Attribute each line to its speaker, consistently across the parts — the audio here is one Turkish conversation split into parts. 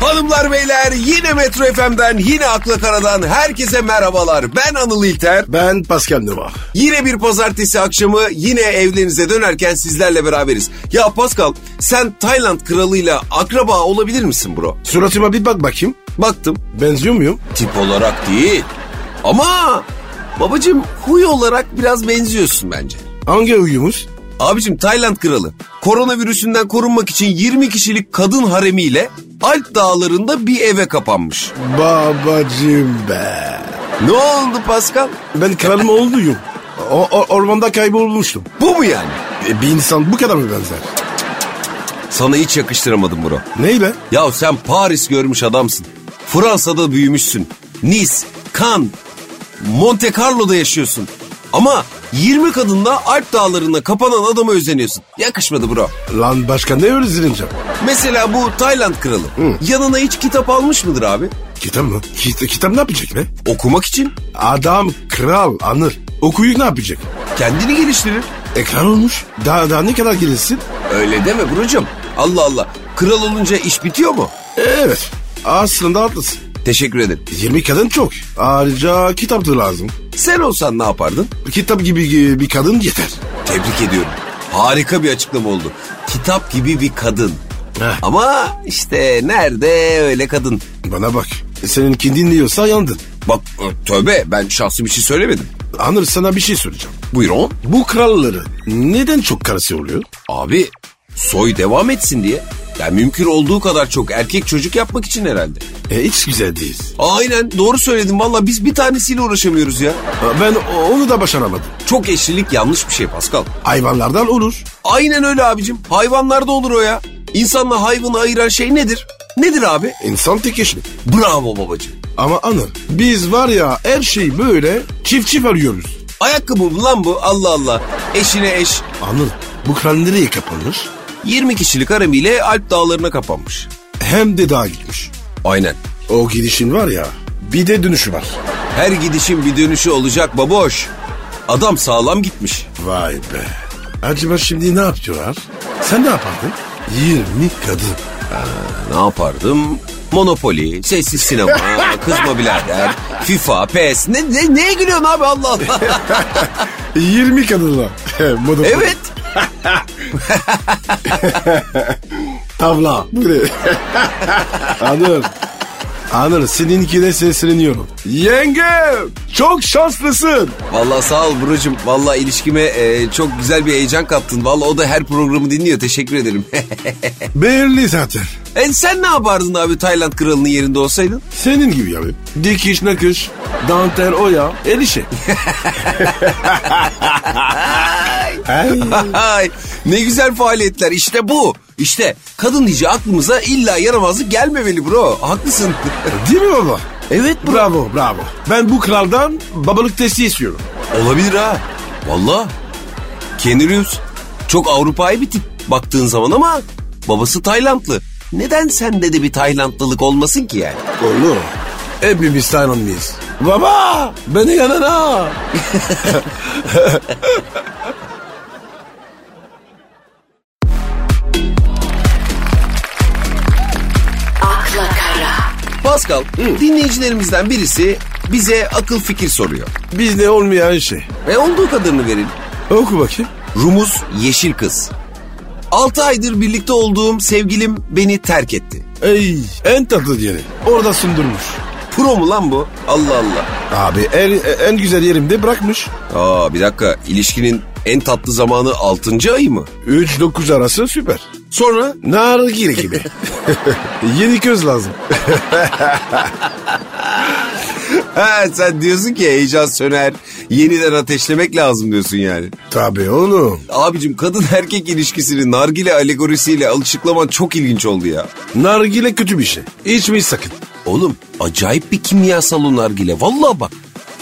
Speaker 1: Hanımlar beyler yine Metro FM'den yine Akla Karadan herkese merhabalar. Ben Anıl İlter.
Speaker 2: Ben Pascal Numa.
Speaker 1: Yine bir pazartesi akşamı yine evlerinize dönerken sizlerle beraberiz. Ya Pascal sen Tayland kralıyla akraba olabilir misin bro?
Speaker 2: Suratıma bir bak bakayım.
Speaker 1: Baktım
Speaker 2: Benziyor muyum?
Speaker 1: tip olarak değil ama babacım huy olarak biraz benziyorsun bence.
Speaker 2: Hangi uyumuz?
Speaker 1: Abicim Tayland kralı koronavirüsünden korunmak için 20 kişilik kadın haremiyle Alp dağlarında bir eve kapanmış.
Speaker 2: Babacım be.
Speaker 1: Ne oldu Pascal?
Speaker 2: Ben kralım oğluyum. O, o- ormanda kaybolmuştum.
Speaker 1: Bu mu yani?
Speaker 2: E, bir insan bu kadar mı benzer?
Speaker 1: Sana hiç yakıştıramadım bro.
Speaker 2: Ney be?
Speaker 1: Ya sen Paris görmüş adamsın. Fransa'da büyümüşsün. Nice, Cannes, Monte Carlo'da yaşıyorsun. Ama 20 kadınla Alp dağlarında kapanan adama özeniyorsun. Yakışmadı bro.
Speaker 2: Lan başka ne öyle zilince?
Speaker 1: Mesela bu Tayland kralı. Yanına hiç kitap almış mıdır abi?
Speaker 2: Kitap mı? Kit- kitap ne yapacak be?
Speaker 1: Okumak için.
Speaker 2: Adam kral anır. Okuyup ne yapacak?
Speaker 1: Kendini geliştirir.
Speaker 2: Ekran olmuş. Daha, daha ne kadar gelirsin?
Speaker 1: Öyle deme brocum. Allah Allah. Kral olunca iş bitiyor mu?
Speaker 2: Evet. Aslında haklısın.
Speaker 1: Teşekkür ederim.
Speaker 2: 20 kadın çok. Ayrıca kitap da lazım.
Speaker 1: Sen olsan ne yapardın?
Speaker 2: Kitap gibi bir kadın yeter.
Speaker 1: Tebrik ediyorum. Harika bir açıklama oldu. Kitap gibi bir kadın.
Speaker 2: Heh.
Speaker 1: Ama işte nerede öyle kadın?
Speaker 2: Bana bak. e, Seninki dinliyorsa yandın.
Speaker 1: Bak e, tövbe ben şahsi bir şey söylemedim.
Speaker 2: Anır sana bir şey soracağım.
Speaker 1: Buyur on.
Speaker 2: Bu kralları neden çok karısı oluyor?
Speaker 1: Abi soy devam etsin diye. Yani mümkün olduğu kadar çok erkek çocuk yapmak için herhalde.
Speaker 2: E, hiç güzel değil.
Speaker 1: Aynen doğru söyledin valla biz bir tanesiyle uğraşamıyoruz ya.
Speaker 2: Ha, Ben o- onu da başaramadım.
Speaker 1: Çok eşlilik yanlış bir şey Pascal.
Speaker 2: Hayvanlardan olur.
Speaker 1: Aynen öyle abicim. Hayvanlarda olur o ya. İnsanla hayvanı ayıran şey nedir? Nedir abi?
Speaker 2: İnsan tek eşli.
Speaker 1: Bravo babacığım.
Speaker 2: Ama Anır biz var ya her şeyi böyle çift çift arıyoruz.
Speaker 1: Ayakkabı mı lan bu? Allah Allah. Eşine eş.
Speaker 2: Anır bu kral nereye kapanır?
Speaker 1: 20 kişilik haremiyle Alp dağlarına kapanmış.
Speaker 2: Hem de daha gitmiş.
Speaker 1: Aynen.
Speaker 2: O gidişin var ya bir de dönüşü var.
Speaker 1: Her gidişin bir dönüşü olacak baboş. Adam sağlam gitmiş.
Speaker 2: Vay be. Acaba şimdi ne yapıyorlar? Sen ne yapardın? 20 kadın.
Speaker 1: Ne yapardım? Monopoly, sessiz sinema, kızma birader, FIFA, PES. Ne, ne, neye gülüyorsun abi Allah Allah.
Speaker 2: 20 kadınla. Monopoly.
Speaker 1: evet.
Speaker 2: Tavla. Bu ne? Anır. Anır seninkine sesleniyorum. Yenge çok şanslısın.
Speaker 1: Vallahi sağ ol Burucuğum. Vallahi ilişkime e, çok güzel bir heyecan kattın. Vallahi o da her programı dinliyor. Teşekkür ederim.
Speaker 2: Belli zaten.
Speaker 1: e, sen ne yapardın abi Tayland kralının yerinde olsaydın?
Speaker 2: Senin gibi ya. Dikiş nakış. Dantel oya. El işi. Ay.
Speaker 1: Ay, ne güzel faaliyetler işte bu. İşte kadın diye aklımıza illa yaramazlık gelmemeli bro. Haklısın.
Speaker 2: Değil mi baba?
Speaker 1: evet bro.
Speaker 2: Bravo bravo. Ben bu kraldan babalık testi istiyorum.
Speaker 1: Olabilir ha. Valla. Kenirius. Çok Avrupa'yı bir tip baktığın zaman ama babası Taylandlı. Neden sende de bir Taylandlılık olmasın ki yani?
Speaker 2: Oğlum hepimiz Taylandlıyız. Baba beni yanına.
Speaker 3: akla kara,
Speaker 1: Pascal dinleyicilerimizden birisi bize akıl fikir soruyor.
Speaker 2: Bizde olmayan şey.
Speaker 1: Ve olduğu kadarını verin.
Speaker 2: Oku bakayım.
Speaker 1: Rumuz Yeşil Kız. 6 aydır birlikte olduğum sevgilim beni terk etti.
Speaker 2: Ey en tatlı yeri. Orada sundurmuş.
Speaker 1: Pro mu lan bu? Allah Allah.
Speaker 2: Abi en, en güzel yerimde bırakmış.
Speaker 1: Aa bir dakika ilişkinin en tatlı zamanı 6. ayı mı?
Speaker 2: 3-9 arası süper.
Speaker 1: Sonra
Speaker 2: Nargile gibi. Yeni köz lazım.
Speaker 1: ha, sen diyorsun ki heyecan söner yeniden ateşlemek lazım diyorsun yani.
Speaker 2: Tabii oğlum.
Speaker 1: Abicim kadın erkek ilişkisini nargile alegorisiyle açıklaman çok ilginç oldu ya.
Speaker 2: Nargile kötü bir şey. İçmeyi sakın.
Speaker 1: Oğlum acayip bir kimyasal o nargile vallahi bak.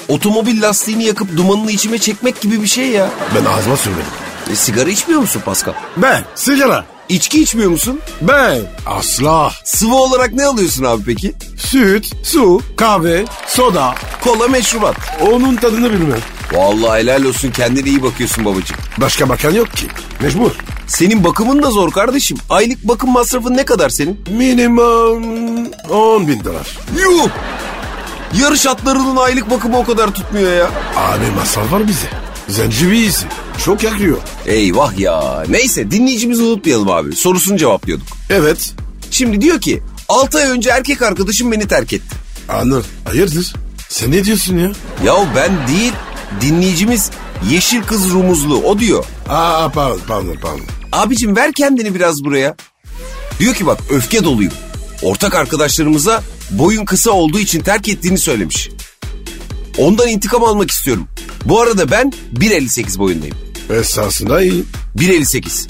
Speaker 1: Otomobil lastiğini yakıp dumanını içime çekmek gibi bir şey ya.
Speaker 2: Ben ağzıma sürmedim.
Speaker 1: E, sigara içmiyor musun Pascal?
Speaker 2: Ben sigara.
Speaker 1: İçki içmiyor musun?
Speaker 2: Ben asla.
Speaker 1: Sıvı olarak ne alıyorsun abi peki?
Speaker 2: Süt, su, kahve, soda.
Speaker 1: Kola meşrubat.
Speaker 2: Onun tadını bilmem.
Speaker 1: Vallahi helal olsun kendine iyi bakıyorsun babacığım.
Speaker 2: Başka bakan yok ki. Mecbur.
Speaker 1: Senin bakımın da zor kardeşim. Aylık bakım masrafın ne kadar senin?
Speaker 2: Minimum 10 bin dolar.
Speaker 1: Yuh! Yarış atlarının aylık bakımı o kadar tutmuyor ya.
Speaker 2: Abi masal var bize. Zencefil iyisi. Çok yakıyor.
Speaker 1: Eyvah ya. Neyse dinleyicimizi unutmayalım abi. Sorusunu cevaplıyorduk.
Speaker 2: Evet.
Speaker 1: Şimdi diyor ki 6 ay önce erkek arkadaşım beni terk etti.
Speaker 2: Anır. Hayırdır? Sen ne diyorsun ya?
Speaker 1: Ya ben değil dinleyicimiz Yeşil Kız Rumuzlu o diyor.
Speaker 2: Aa pardon pardon pardon.
Speaker 1: Abicim ver kendini biraz buraya. Diyor ki bak öfke doluyum. Ortak arkadaşlarımıza boyun kısa olduğu için terk ettiğini söylemiş. Ondan intikam almak istiyorum. Bu arada ben 1.58 boyundayım.
Speaker 2: Esasında iyi.
Speaker 1: 1.58.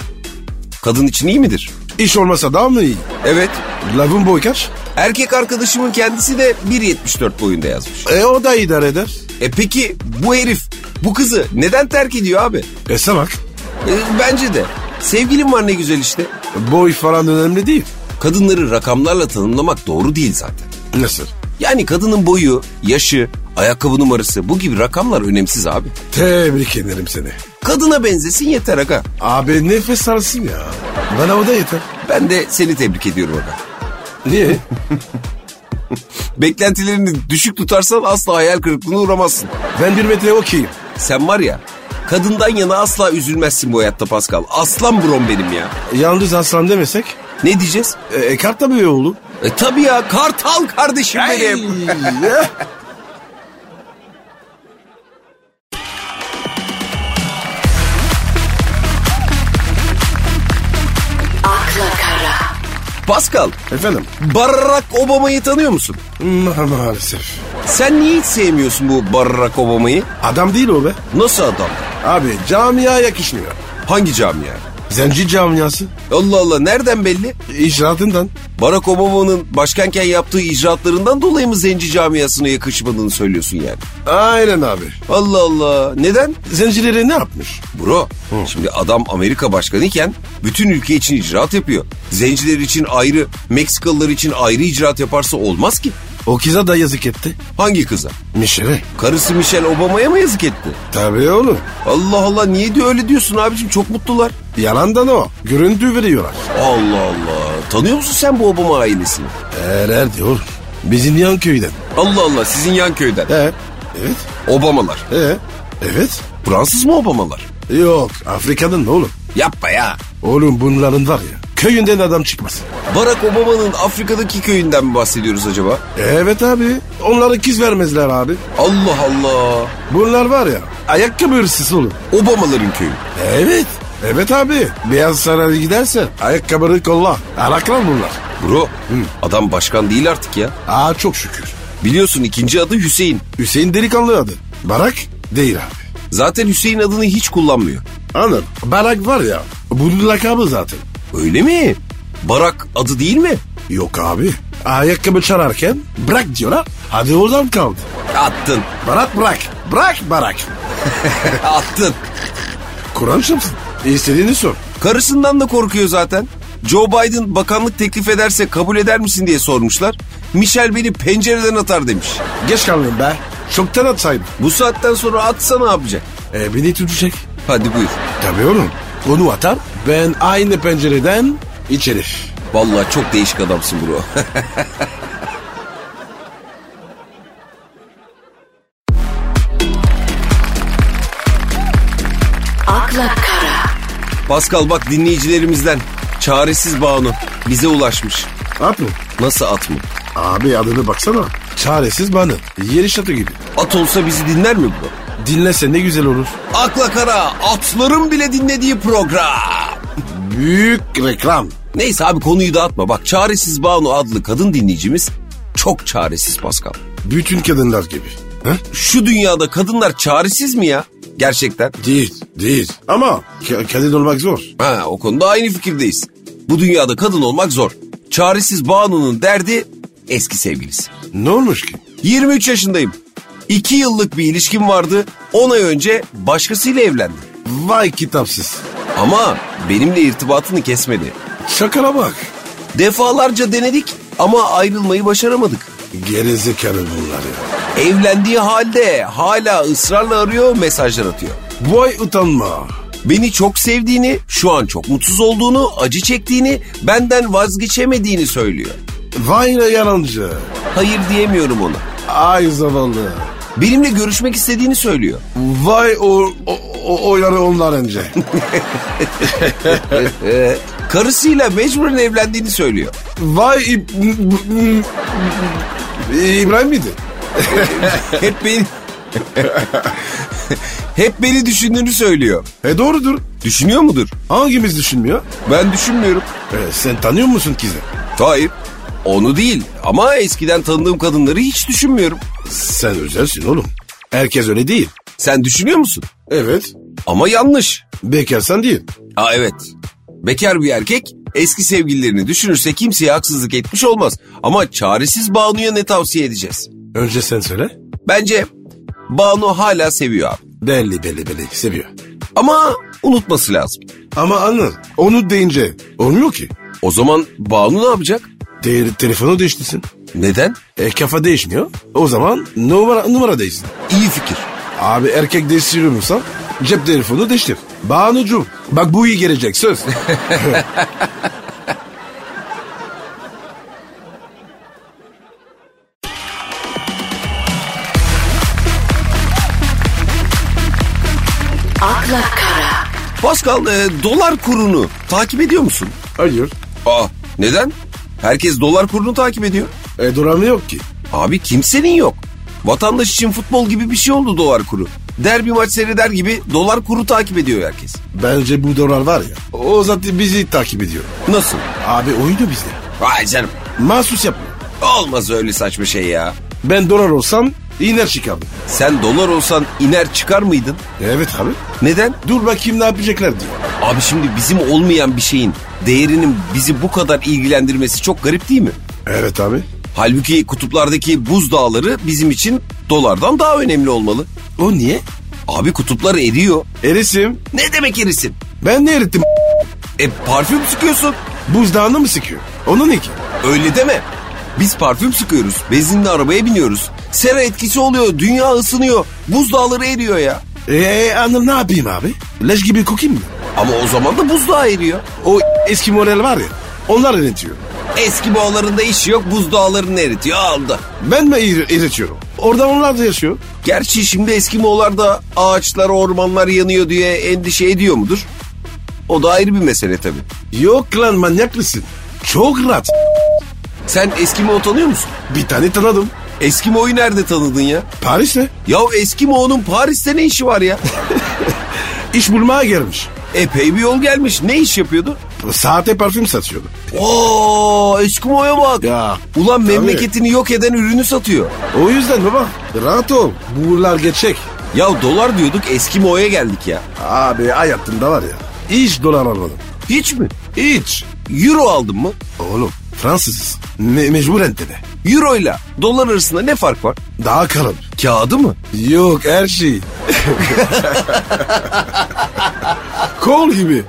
Speaker 1: Kadın için iyi midir?
Speaker 2: İş olmasa daha mı iyi?
Speaker 1: Evet.
Speaker 2: Lavın boy kaç?
Speaker 1: Erkek arkadaşımın kendisi de 1.74 boyunda yazmış.
Speaker 2: E o da idare eder.
Speaker 1: E peki bu herif bu kızı neden terk ediyor abi?
Speaker 2: Ese bak.
Speaker 1: E, bence de. Sevgilim var ne güzel işte.
Speaker 2: Boy falan önemli değil.
Speaker 1: Kadınları rakamlarla tanımlamak doğru değil zaten.
Speaker 2: Nasıl?
Speaker 1: Yani kadının boyu, yaşı, ayakkabı numarası bu gibi rakamlar önemsiz abi.
Speaker 2: Tebrik ederim seni.
Speaker 1: Kadına benzesin yeter aga.
Speaker 2: Abi nefes alsın ya. Bana o da yeter.
Speaker 1: Ben de seni tebrik ediyorum aga.
Speaker 2: Niye?
Speaker 1: Beklentilerini düşük tutarsan asla hayal kırıklığına uğramazsın.
Speaker 2: ben bir metre okeyim.
Speaker 1: Sen var ya kadından yana asla üzülmezsin bu hayatta Pascal. Aslan brom benim ya.
Speaker 2: Yalnız aslan demesek.
Speaker 1: Ne diyeceğiz?
Speaker 2: E, Ekart da böyle oğlum.
Speaker 1: E tabii ya kartal kardeşim benim.
Speaker 2: Ay.
Speaker 3: akla kara,
Speaker 1: Pascal,
Speaker 2: Efendim?
Speaker 1: Barack Obama'yı tanıyor musun?
Speaker 2: Ma- maalesef.
Speaker 1: Sen niye hiç sevmiyorsun bu Barack Obama'yı?
Speaker 2: Adam değil o be.
Speaker 1: Nasıl adam?
Speaker 2: Abi camia yakışmıyor.
Speaker 1: Hangi camia?
Speaker 2: Zenci camiası.
Speaker 1: Allah Allah nereden belli?
Speaker 2: İcraatından.
Speaker 1: Barack Obama'nın başkenken yaptığı icraatlarından dolayı mı zenci camiasına yakışmadığını söylüyorsun yani?
Speaker 2: Aynen abi.
Speaker 1: Allah Allah. Neden?
Speaker 2: Zencilere ne yapmış?
Speaker 1: Bro, şimdi adam Amerika başkanıyken bütün ülke için icraat yapıyor. Zenciler için ayrı, Meksikalılar için ayrı icraat yaparsa olmaz ki.
Speaker 2: O kıza da yazık etti.
Speaker 1: Hangi kıza?
Speaker 2: Mişere.
Speaker 1: Karısı Michelle Obama'ya mı yazık etti?
Speaker 2: Tabii oğlum.
Speaker 1: Allah Allah niye diyor öyle diyorsun abicim çok mutlular.
Speaker 2: Yalandan o. Görüntü veriyorlar.
Speaker 1: Allah Allah. Tanıyor musun sen bu Obama ailesini?
Speaker 2: Erer diyor. Bizim yan köyden.
Speaker 1: Allah Allah sizin yan köyden.
Speaker 2: He. Evet.
Speaker 1: Obamalar.
Speaker 2: He. Evet.
Speaker 1: Fransız mı Obamalar?
Speaker 2: Yok. Afrika'nın ne oğlum?
Speaker 1: Yapma ya.
Speaker 2: Oğlum bunların var ya. Köyünden adam çıkmaz.
Speaker 1: Barack Obama'nın Afrika'daki köyünden mi bahsediyoruz acaba?
Speaker 2: Evet abi. Onlara kız vermezler abi.
Speaker 1: Allah Allah.
Speaker 2: Bunlar var ya. Ayakkabı hırsızı oğlum.
Speaker 1: Obamaların köyü.
Speaker 2: Evet. Evet abi. Beyaz Saray'a giderse ayakkabını kolla. Araklar bunlar.
Speaker 1: Bro adam başkan değil artık ya.
Speaker 2: Aa çok şükür.
Speaker 1: Biliyorsun ikinci adı Hüseyin.
Speaker 2: Hüseyin delikanlı adı. Barak değil abi.
Speaker 1: Zaten Hüseyin adını hiç kullanmıyor.
Speaker 2: Anladım. Barak var ya. Bunun lakabı zaten.
Speaker 1: Öyle mi? Barak adı değil mi?
Speaker 2: Yok abi. Ayakkabı çalarken bırak diyorlar. Hadi oradan kaldı.
Speaker 1: Attın.
Speaker 2: Barak bırak. Bırak barak.
Speaker 1: Attın.
Speaker 2: Kur'an şapsın. İstediğini sor.
Speaker 1: Karısından da korkuyor zaten. Joe Biden bakanlık teklif ederse kabul eder misin diye sormuşlar. Michel beni pencereden atar demiş.
Speaker 2: Geç kaldım be. Çoktan atsaydım.
Speaker 1: Bu saatten sonra atsa ne yapacak?
Speaker 2: E, beni tutacak.
Speaker 1: Hadi buyur.
Speaker 2: Tabii oğlum. Onu atar. Ben aynı pencereden içeri.
Speaker 1: Vallahi çok değişik adamsın bro.
Speaker 3: akla kara,
Speaker 1: Pascal bak dinleyicilerimizden çaresiz Banu bize ulaşmış.
Speaker 2: At mı?
Speaker 1: Nasıl at mı?
Speaker 2: Abi adını baksana. Çaresiz bana. Yeri şatı gibi.
Speaker 1: At olsa bizi dinler mi bu?
Speaker 2: Dinlese ne güzel olur.
Speaker 1: Akla kara atların bile dinlediği program.
Speaker 2: Büyük reklam.
Speaker 1: Neyse abi konuyu dağıtma. Bak çaresiz Banu adlı kadın dinleyicimiz çok çaresiz Pascal.
Speaker 2: Bütün kadınlar gibi. Ha?
Speaker 1: Şu dünyada kadınlar çaresiz mi ya? Gerçekten.
Speaker 2: Değil, değil. Ama ka- kadın olmak zor.
Speaker 1: Ha o konuda aynı fikirdeyiz. Bu dünyada kadın olmak zor. Çaresiz Banu'nun derdi eski sevgilisi.
Speaker 2: Ne olmuş ki?
Speaker 1: 23 yaşındayım. 2 yıllık bir ilişkim vardı. 10 ay önce başkasıyla evlendim.
Speaker 2: Vay kitapsız.
Speaker 1: Ama benimle irtibatını kesmedi.
Speaker 2: Şakana bak.
Speaker 1: Defalarca denedik ama ayrılmayı başaramadık.
Speaker 2: Gerizekalı bunlar ya.
Speaker 1: Evlendiği halde hala ısrarla arıyor mesajlar atıyor.
Speaker 2: Vay utanma.
Speaker 1: Beni çok sevdiğini, şu an çok mutsuz olduğunu, acı çektiğini, benden vazgeçemediğini söylüyor.
Speaker 2: Vay ne yalancı.
Speaker 1: Hayır diyemiyorum ona.
Speaker 2: Ay zavallı.
Speaker 1: Benimle görüşmek istediğini söylüyor.
Speaker 2: Vay o, o, o oyları onlar önce.
Speaker 1: Karısıyla mecburen evlendiğini söylüyor.
Speaker 2: Vay İb- İbrahim miydi?
Speaker 1: Hep beni... Hep beni düşündüğünü söylüyor.
Speaker 2: E doğrudur.
Speaker 1: Düşünüyor mudur?
Speaker 2: Hangimiz düşünmüyor?
Speaker 1: Ben düşünmüyorum.
Speaker 2: E, sen tanıyor musun kızı?
Speaker 1: Hayır. Onu değil ama eskiden tanıdığım kadınları hiç düşünmüyorum.
Speaker 2: Sen özelsin oğlum. Herkes öyle değil.
Speaker 1: Sen düşünüyor musun?
Speaker 2: Evet.
Speaker 1: Ama yanlış.
Speaker 2: Bekarsan değil.
Speaker 1: Aa evet. Bekar bir erkek eski sevgililerini düşünürse kimseye haksızlık etmiş olmaz. Ama çaresiz Banu'ya ne tavsiye edeceğiz?
Speaker 2: Önce sen söyle.
Speaker 1: Bence Banu hala seviyor abi.
Speaker 2: Belli belli belli seviyor.
Speaker 1: Ama unutması lazım.
Speaker 2: Ama anıl onu deyince olmuyor ki.
Speaker 1: O zaman Banu ne yapacak?
Speaker 2: Te- telefonu değiştirsin.
Speaker 1: Neden?
Speaker 2: E kafa değişmiyor. O zaman numara numara değişsin.
Speaker 1: İyi fikir.
Speaker 2: Abi erkek değiştiriyorsan cep telefonu değiştir. Banucuğum bak bu iyi gelecek söz.
Speaker 3: akla kara,
Speaker 1: Pascal e, dolar kurunu takip ediyor musun?
Speaker 2: Hayır.
Speaker 1: Aa neden? Herkes dolar kurunu takip ediyor.
Speaker 2: E duramı yok ki.
Speaker 1: Abi kimsenin yok. Vatandaş için futbol gibi bir şey oldu dolar kuru. Derbi maç seyreder gibi dolar kuru takip ediyor herkes.
Speaker 2: Bence bu dolar var ya. O zaten bizi takip ediyor.
Speaker 1: Nasıl?
Speaker 2: Abi oyunu bizde.
Speaker 1: Vay canım.
Speaker 2: Mahsus yapmıyor.
Speaker 1: Olmaz öyle saçma şey ya.
Speaker 2: Ben dolar olsam iner çıkardım.
Speaker 1: Sen dolar olsan iner çıkar mıydın?
Speaker 2: Evet abi.
Speaker 1: Neden?
Speaker 2: Dur bakayım ne yapacaklar diyor.
Speaker 1: Abi şimdi bizim olmayan bir şeyin değerinin bizi bu kadar ilgilendirmesi çok garip değil mi?
Speaker 2: Evet abi.
Speaker 1: Halbuki kutuplardaki buz dağları bizim için dolardan daha önemli olmalı.
Speaker 2: O niye?
Speaker 1: Abi kutuplar eriyor.
Speaker 2: Erisim.
Speaker 1: Ne demek erisin?
Speaker 2: Ben ne erittim?
Speaker 1: E parfüm sıkıyorsun.
Speaker 2: Buzdağını mı sıkıyor? Onun ne ki?
Speaker 1: Öyle deme. Biz parfüm sıkıyoruz. Benzinli arabaya biniyoruz. Sera etkisi oluyor. Dünya ısınıyor. Buzdağları eriyor ya.
Speaker 2: Eee E, anıl ne yapayım abi? Leş gibi kokayım mı?
Speaker 1: Ama o zaman da buzdağı eriyor.
Speaker 2: O eski model var ya. Onlar eritiyor.
Speaker 1: Eski bağlarında iş yok. Buzdağlarını eritiyor. Aldı.
Speaker 2: Ben mi eri- eritiyorum? Orada onlar da yaşıyor.
Speaker 1: Gerçi şimdi Eskimoğullar da ağaçlar, ormanlar yanıyor diye endişe ediyor mudur? O da ayrı bir mesele tabii.
Speaker 2: Yok lan manyak mısın? Çok rahat.
Speaker 1: Sen Eskimo tanıyor musun?
Speaker 2: Bir tane tanıdım.
Speaker 1: Eskimo'yu nerede tanıdın ya?
Speaker 2: Paris'te.
Speaker 1: Ya Eskimo'nun Paris'te ne işi var ya?
Speaker 2: İş bulmaya gelmiş.
Speaker 1: Epey bir yol gelmiş. Ne iş yapıyordu?
Speaker 2: Saate parfüm satıyordu.
Speaker 1: Oo Eskimo'ya bak.
Speaker 2: Ya.
Speaker 1: Ulan
Speaker 2: Tabii.
Speaker 1: memleketini yok eden ürünü satıyor.
Speaker 2: O yüzden baba rahat ol. Buralar geçecek.
Speaker 1: Ya dolar diyorduk Eskimo'ya geldik ya.
Speaker 2: Abi hayatımda var ya. Hiç dolar almadım.
Speaker 1: Hiç mi?
Speaker 2: Hiç.
Speaker 1: Euro aldın mı?
Speaker 2: Oğlum Fransızız. Me mecburen tabi.
Speaker 1: Euro ile dolar arasında ne fark var?
Speaker 2: Daha kalın.
Speaker 1: Kağıdı mı?
Speaker 2: Yok her şey. Kol gibi.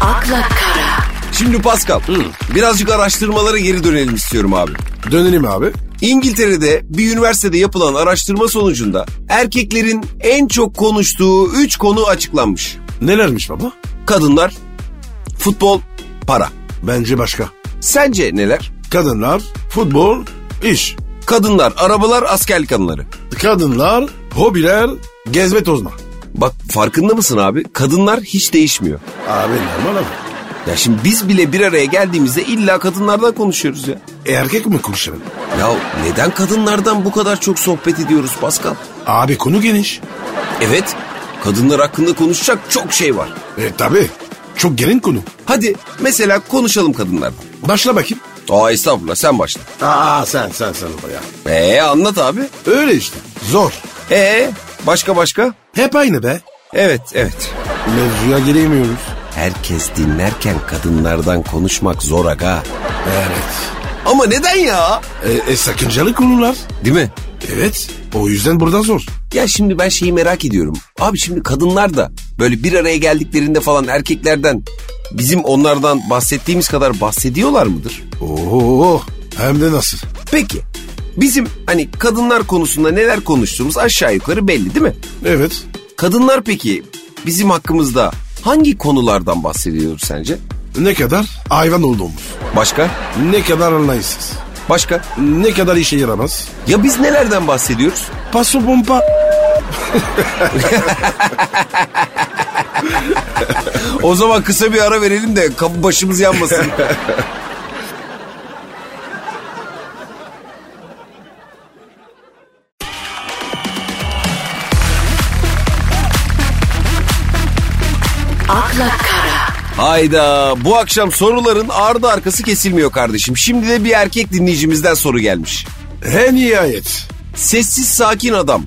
Speaker 3: akla kara,
Speaker 1: Şimdi Pascal birazcık araştırmalara geri dönelim istiyorum abi.
Speaker 2: Dönelim abi.
Speaker 1: İngiltere'de bir üniversitede yapılan araştırma sonucunda erkeklerin en çok konuştuğu 3 konu açıklanmış.
Speaker 2: Nelermiş baba?
Speaker 1: Kadınlar, futbol, para.
Speaker 2: Bence başka.
Speaker 1: Sence neler?
Speaker 2: Kadınlar, futbol, iş.
Speaker 1: Kadınlar, arabalar, askerlik anıları.
Speaker 2: Kadınlar, hobiler, gezme tozma.
Speaker 1: Bak farkında mısın abi? Kadınlar hiç değişmiyor.
Speaker 2: Abi normal abi.
Speaker 1: Ya şimdi biz bile bir araya geldiğimizde illa kadınlardan konuşuyoruz ya.
Speaker 2: E, erkek mi konuşalım?
Speaker 1: Ya neden kadınlardan bu kadar çok sohbet ediyoruz Pascal?
Speaker 2: Abi konu geniş.
Speaker 1: Evet, kadınlar hakkında konuşacak çok şey var.
Speaker 2: E tabi. Çok gelin konu.
Speaker 1: Hadi mesela konuşalım kadınlardan.
Speaker 2: Başla bakayım.
Speaker 1: Aa estağfurullah sen başla.
Speaker 2: Aa sen sen sen baba ya.
Speaker 1: Ee anlat abi.
Speaker 2: Öyle işte. Zor.
Speaker 1: Ee başka başka?
Speaker 2: Hep aynı be.
Speaker 1: Evet evet.
Speaker 2: Mevzuya giremiyoruz.
Speaker 1: Herkes dinlerken kadınlardan konuşmak zor aga.
Speaker 2: Evet.
Speaker 1: Ama neden ya?
Speaker 2: E, e, sakıncalı konular.
Speaker 1: Değil mi?
Speaker 2: Evet. O yüzden burada zor.
Speaker 1: Ya şimdi ben şeyi merak ediyorum. Abi şimdi kadınlar da böyle bir araya geldiklerinde falan erkeklerden bizim onlardan bahsettiğimiz kadar bahsediyorlar mıdır?
Speaker 2: Oo hem de nasıl?
Speaker 1: Peki bizim hani kadınlar konusunda neler konuştuğumuz aşağı yukarı belli değil mi?
Speaker 2: Evet.
Speaker 1: Kadınlar peki bizim hakkımızda hangi konulardan bahsediyor sence?
Speaker 2: Ne kadar hayvan olduğumuz.
Speaker 1: Başka?
Speaker 2: Ne kadar anlayışsız.
Speaker 1: Başka?
Speaker 2: Ne kadar işe yaramaz.
Speaker 1: Ya biz nelerden bahsediyoruz?
Speaker 2: Paso pompa.
Speaker 1: O zaman kısa bir ara verelim de kap- başımız yanmasın.
Speaker 3: akla kara,
Speaker 1: Hayda bu akşam soruların ardı arkası kesilmiyor kardeşim. Şimdi de bir erkek dinleyicimizden soru gelmiş.
Speaker 2: He nihayet.
Speaker 1: Sessiz sakin adam.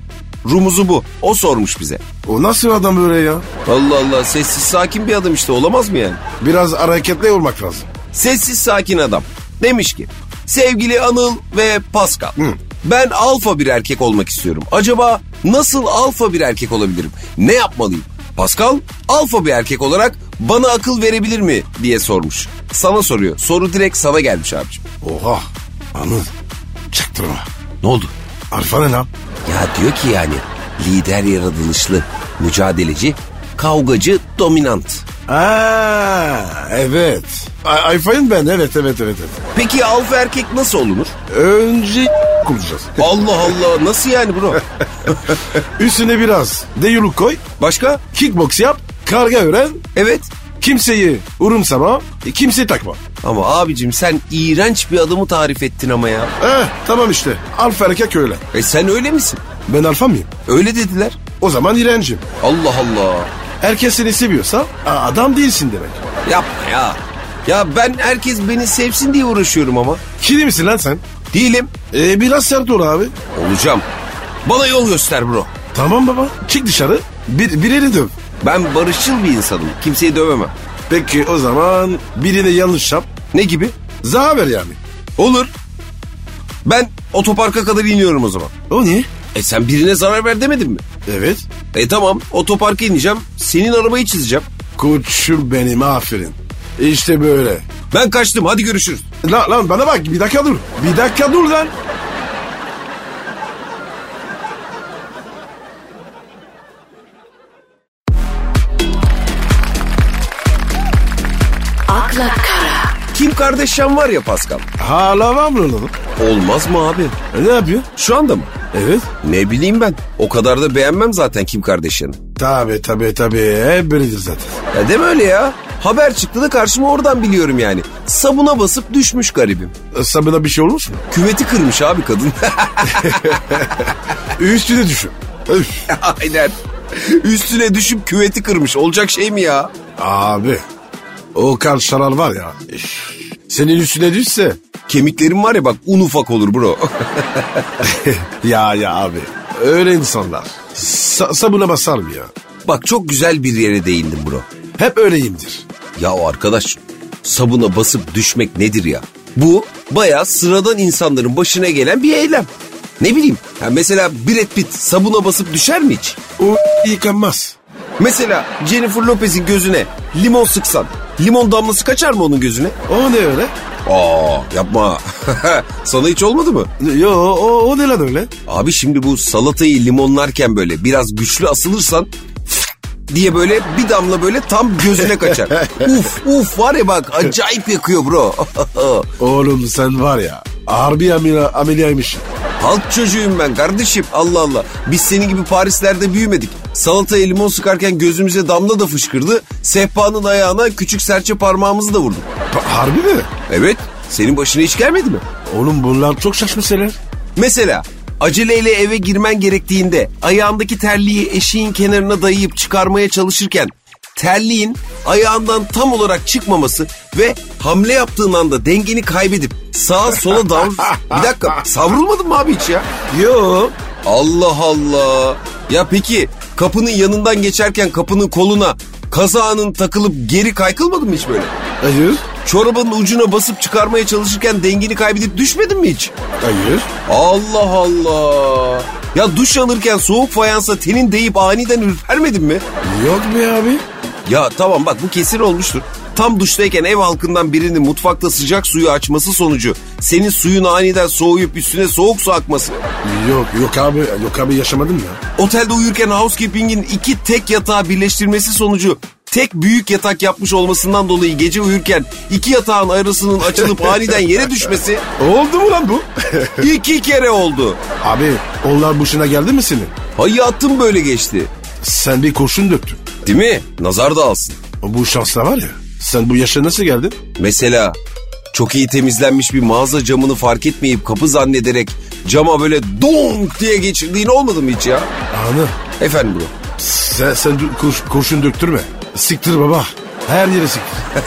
Speaker 1: Rumuzu bu. O sormuş bize.
Speaker 2: O nasıl adam böyle ya?
Speaker 1: Allah Allah sessiz sakin bir adam işte olamaz mı yani?
Speaker 2: Biraz hareketli olmak lazım.
Speaker 1: Sessiz sakin adam. Demiş ki sevgili Anıl ve Pascal. Ben alfa bir erkek olmak istiyorum. Acaba nasıl alfa bir erkek olabilirim? Ne yapmalıyım? Pascal alfa bir erkek olarak bana akıl verebilir mi diye sormuş. Sana soruyor. Soru direkt sana gelmiş abicim.
Speaker 2: Oha. Anıl. Çaktırma.
Speaker 1: Ne oldu?
Speaker 2: Alfa ne lan?
Speaker 1: Ya diyor ki yani lider yaratılışlı, mücadeleci, kavgacı, dominant.
Speaker 2: Aa, evet. Ay- Alfa'yım ben evet evet evet. evet.
Speaker 1: Peki alfa erkek nasıl olunur?
Speaker 2: Önce kuracağız.
Speaker 1: Allah Allah nasıl yani bro?
Speaker 2: Üstüne biraz deyuluk koy.
Speaker 1: Başka?
Speaker 2: Kickbox yap. Karga öğren.
Speaker 1: Evet.
Speaker 2: Kimseyi urumsama. Kimseyi takma.
Speaker 1: Ama abicim sen iğrenç bir adamı tarif ettin ama ya.
Speaker 2: Eh, tamam işte. Alfa erkek öyle.
Speaker 1: E sen öyle misin?
Speaker 2: Ben alfa mıyım?
Speaker 1: Öyle dediler.
Speaker 2: O zaman iğrencim.
Speaker 1: Allah Allah.
Speaker 2: Herkes seni seviyorsa a- adam değilsin demek.
Speaker 1: Yapma ya. Ya ben herkes beni sevsin diye uğraşıyorum ama.
Speaker 2: Kili misin lan sen?
Speaker 1: Değilim.
Speaker 2: E, biraz sert ol abi.
Speaker 1: Olacağım. Bana yol göster bro.
Speaker 2: Tamam baba. Çık dışarı. Bir, birini döv.
Speaker 1: Ben barışçıl bir insanım. Kimseyi dövemem.
Speaker 2: Peki o zaman birine yanlış yap.
Speaker 1: Ne gibi?
Speaker 2: Zahaber yani.
Speaker 1: Olur. Ben otoparka kadar iniyorum o zaman.
Speaker 2: O ne?
Speaker 1: E sen birine zarar ver demedin mi?
Speaker 2: Evet.
Speaker 1: E tamam otoparka ineceğim. Senin arabayı çizeceğim.
Speaker 2: Koçum benim aferin. İşte böyle.
Speaker 1: Ben kaçtım hadi görüşürüz.
Speaker 2: Lan, lan bana bak bir dakika dur. Bir dakika dur lan.
Speaker 3: akla kara,
Speaker 1: Kim Kardashian var ya Pascal.
Speaker 2: Hala var mı lan?
Speaker 1: Olmaz mı abi?
Speaker 2: E, Ne yapıyor?
Speaker 1: Şu anda mı?
Speaker 2: Evet.
Speaker 1: Ne bileyim ben. O kadar da beğenmem zaten Kim Kardashian'ı.
Speaker 2: Tabi tabi tabi. Hep böyledir zaten.
Speaker 1: Ya deme öyle ya. Haber çıktı da karşıma oradan biliyorum yani. Sabuna basıp düşmüş garibim.
Speaker 2: E, Sabına bir şey olmuş mu?
Speaker 1: Küveti kırmış abi kadın.
Speaker 2: Üstüne düşün. Üf.
Speaker 1: Aynen. Üstüne düşüp küveti kırmış. Olacak şey mi ya?
Speaker 2: Abi. O Karl Şaral var ya. üf. Senin üstüne düşse.
Speaker 1: Kemiklerim var ya bak un ufak olur bro.
Speaker 2: ya ya abi. Öyle insanlar. Sa- sabuna basar mı ya?
Speaker 1: bak çok güzel bir yere değindim bro.
Speaker 2: Hep öyleyimdir.
Speaker 1: Ya arkadaş sabuna basıp düşmek nedir ya? Bu bayağı sıradan insanların başına gelen bir eylem. Ne bileyim ya mesela Brad Pitt sabuna basıp düşer mi hiç?
Speaker 2: O yıkanmaz.
Speaker 1: Mesela Jennifer Lopez'in gözüne limon sıksan limon damlası kaçar mı onun gözüne?
Speaker 2: O ne öyle?
Speaker 1: Aa yapma. Sana hiç olmadı mı?
Speaker 2: Yo o, o ne lan öyle?
Speaker 1: Abi şimdi bu salatayı limonlarken böyle biraz güçlü asılırsan diye böyle bir damla böyle tam gözüne kaçar. uf uf var ya bak acayip yakıyor bro.
Speaker 2: Oğlum sen var ya. Harbi amela, ameliyaymış.
Speaker 1: Halk çocuğuyum ben kardeşim Allah Allah. Biz senin gibi Parislerde büyümedik. Salataya limon sıkarken gözümüze damla da fışkırdı. Sehpanın ayağına küçük serçe parmağımızı da vurduk.
Speaker 2: Pa- harbi mi?
Speaker 1: Evet senin başına hiç gelmedi mi?
Speaker 2: Oğlum bunlar çok şaşmış şeyler.
Speaker 1: Mesela aceleyle eve girmen gerektiğinde ayağındaki terliği eşiğin kenarına dayayıp çıkarmaya çalışırken terliğin ayağından tam olarak çıkmaması ve hamle yaptığın anda dengeni kaybedip sağa sola davr... Bir dakika savrulmadın mı abi hiç ya?
Speaker 2: Yo.
Speaker 1: Allah Allah. Ya peki kapının yanından geçerken kapının koluna kazağının takılıp geri kaykılmadın mı hiç böyle?
Speaker 2: Hayır.
Speaker 1: Çorabın ucuna basıp çıkarmaya çalışırken dengeni kaybedip düşmedin mi hiç?
Speaker 2: Hayır.
Speaker 1: Allah Allah. Ya duş alırken soğuk fayansa tenin değip aniden ürpermedin mi?
Speaker 2: Yok be abi.
Speaker 1: Ya tamam bak bu kesin olmuştur. Tam duştayken ev halkından birinin mutfakta sıcak suyu açması sonucu senin suyun aniden soğuyup üstüne soğuk su akması.
Speaker 2: Yok yok abi yok abi yaşamadım ya.
Speaker 1: Otelde uyurken housekeeping'in iki tek yatağı birleştirmesi sonucu tek büyük yatak yapmış olmasından dolayı gece uyurken iki yatağın arasının açılıp aniden yere düşmesi
Speaker 2: Oldu mu lan bu?
Speaker 1: iki kere oldu.
Speaker 2: abi onlar boşuna geldi mi senin?
Speaker 1: Hayatım böyle geçti.
Speaker 2: Sen bir kurşun döktün.
Speaker 1: Değil mi? Nazar da alsın.
Speaker 2: Bu şansla var ya. Sen bu yaşa nasıl geldin?
Speaker 1: Mesela çok iyi temizlenmiş bir mağaza camını fark etmeyip kapı zannederek cama böyle donk diye geçirdiğin olmadı mı hiç ya?
Speaker 2: Anı.
Speaker 1: Efendim bro.
Speaker 2: Sen, sen dö- kur- kurşun döktürme. Siktir baba. Her yere siktir.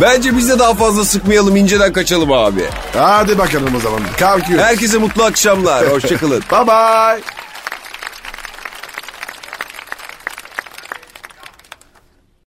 Speaker 1: Bence biz de daha fazla sıkmayalım inceden kaçalım abi.
Speaker 2: Hadi bakalım o zaman. Kalkıyoruz.
Speaker 1: Herkese mutlu akşamlar. Hoşçakalın.
Speaker 2: Bye bye.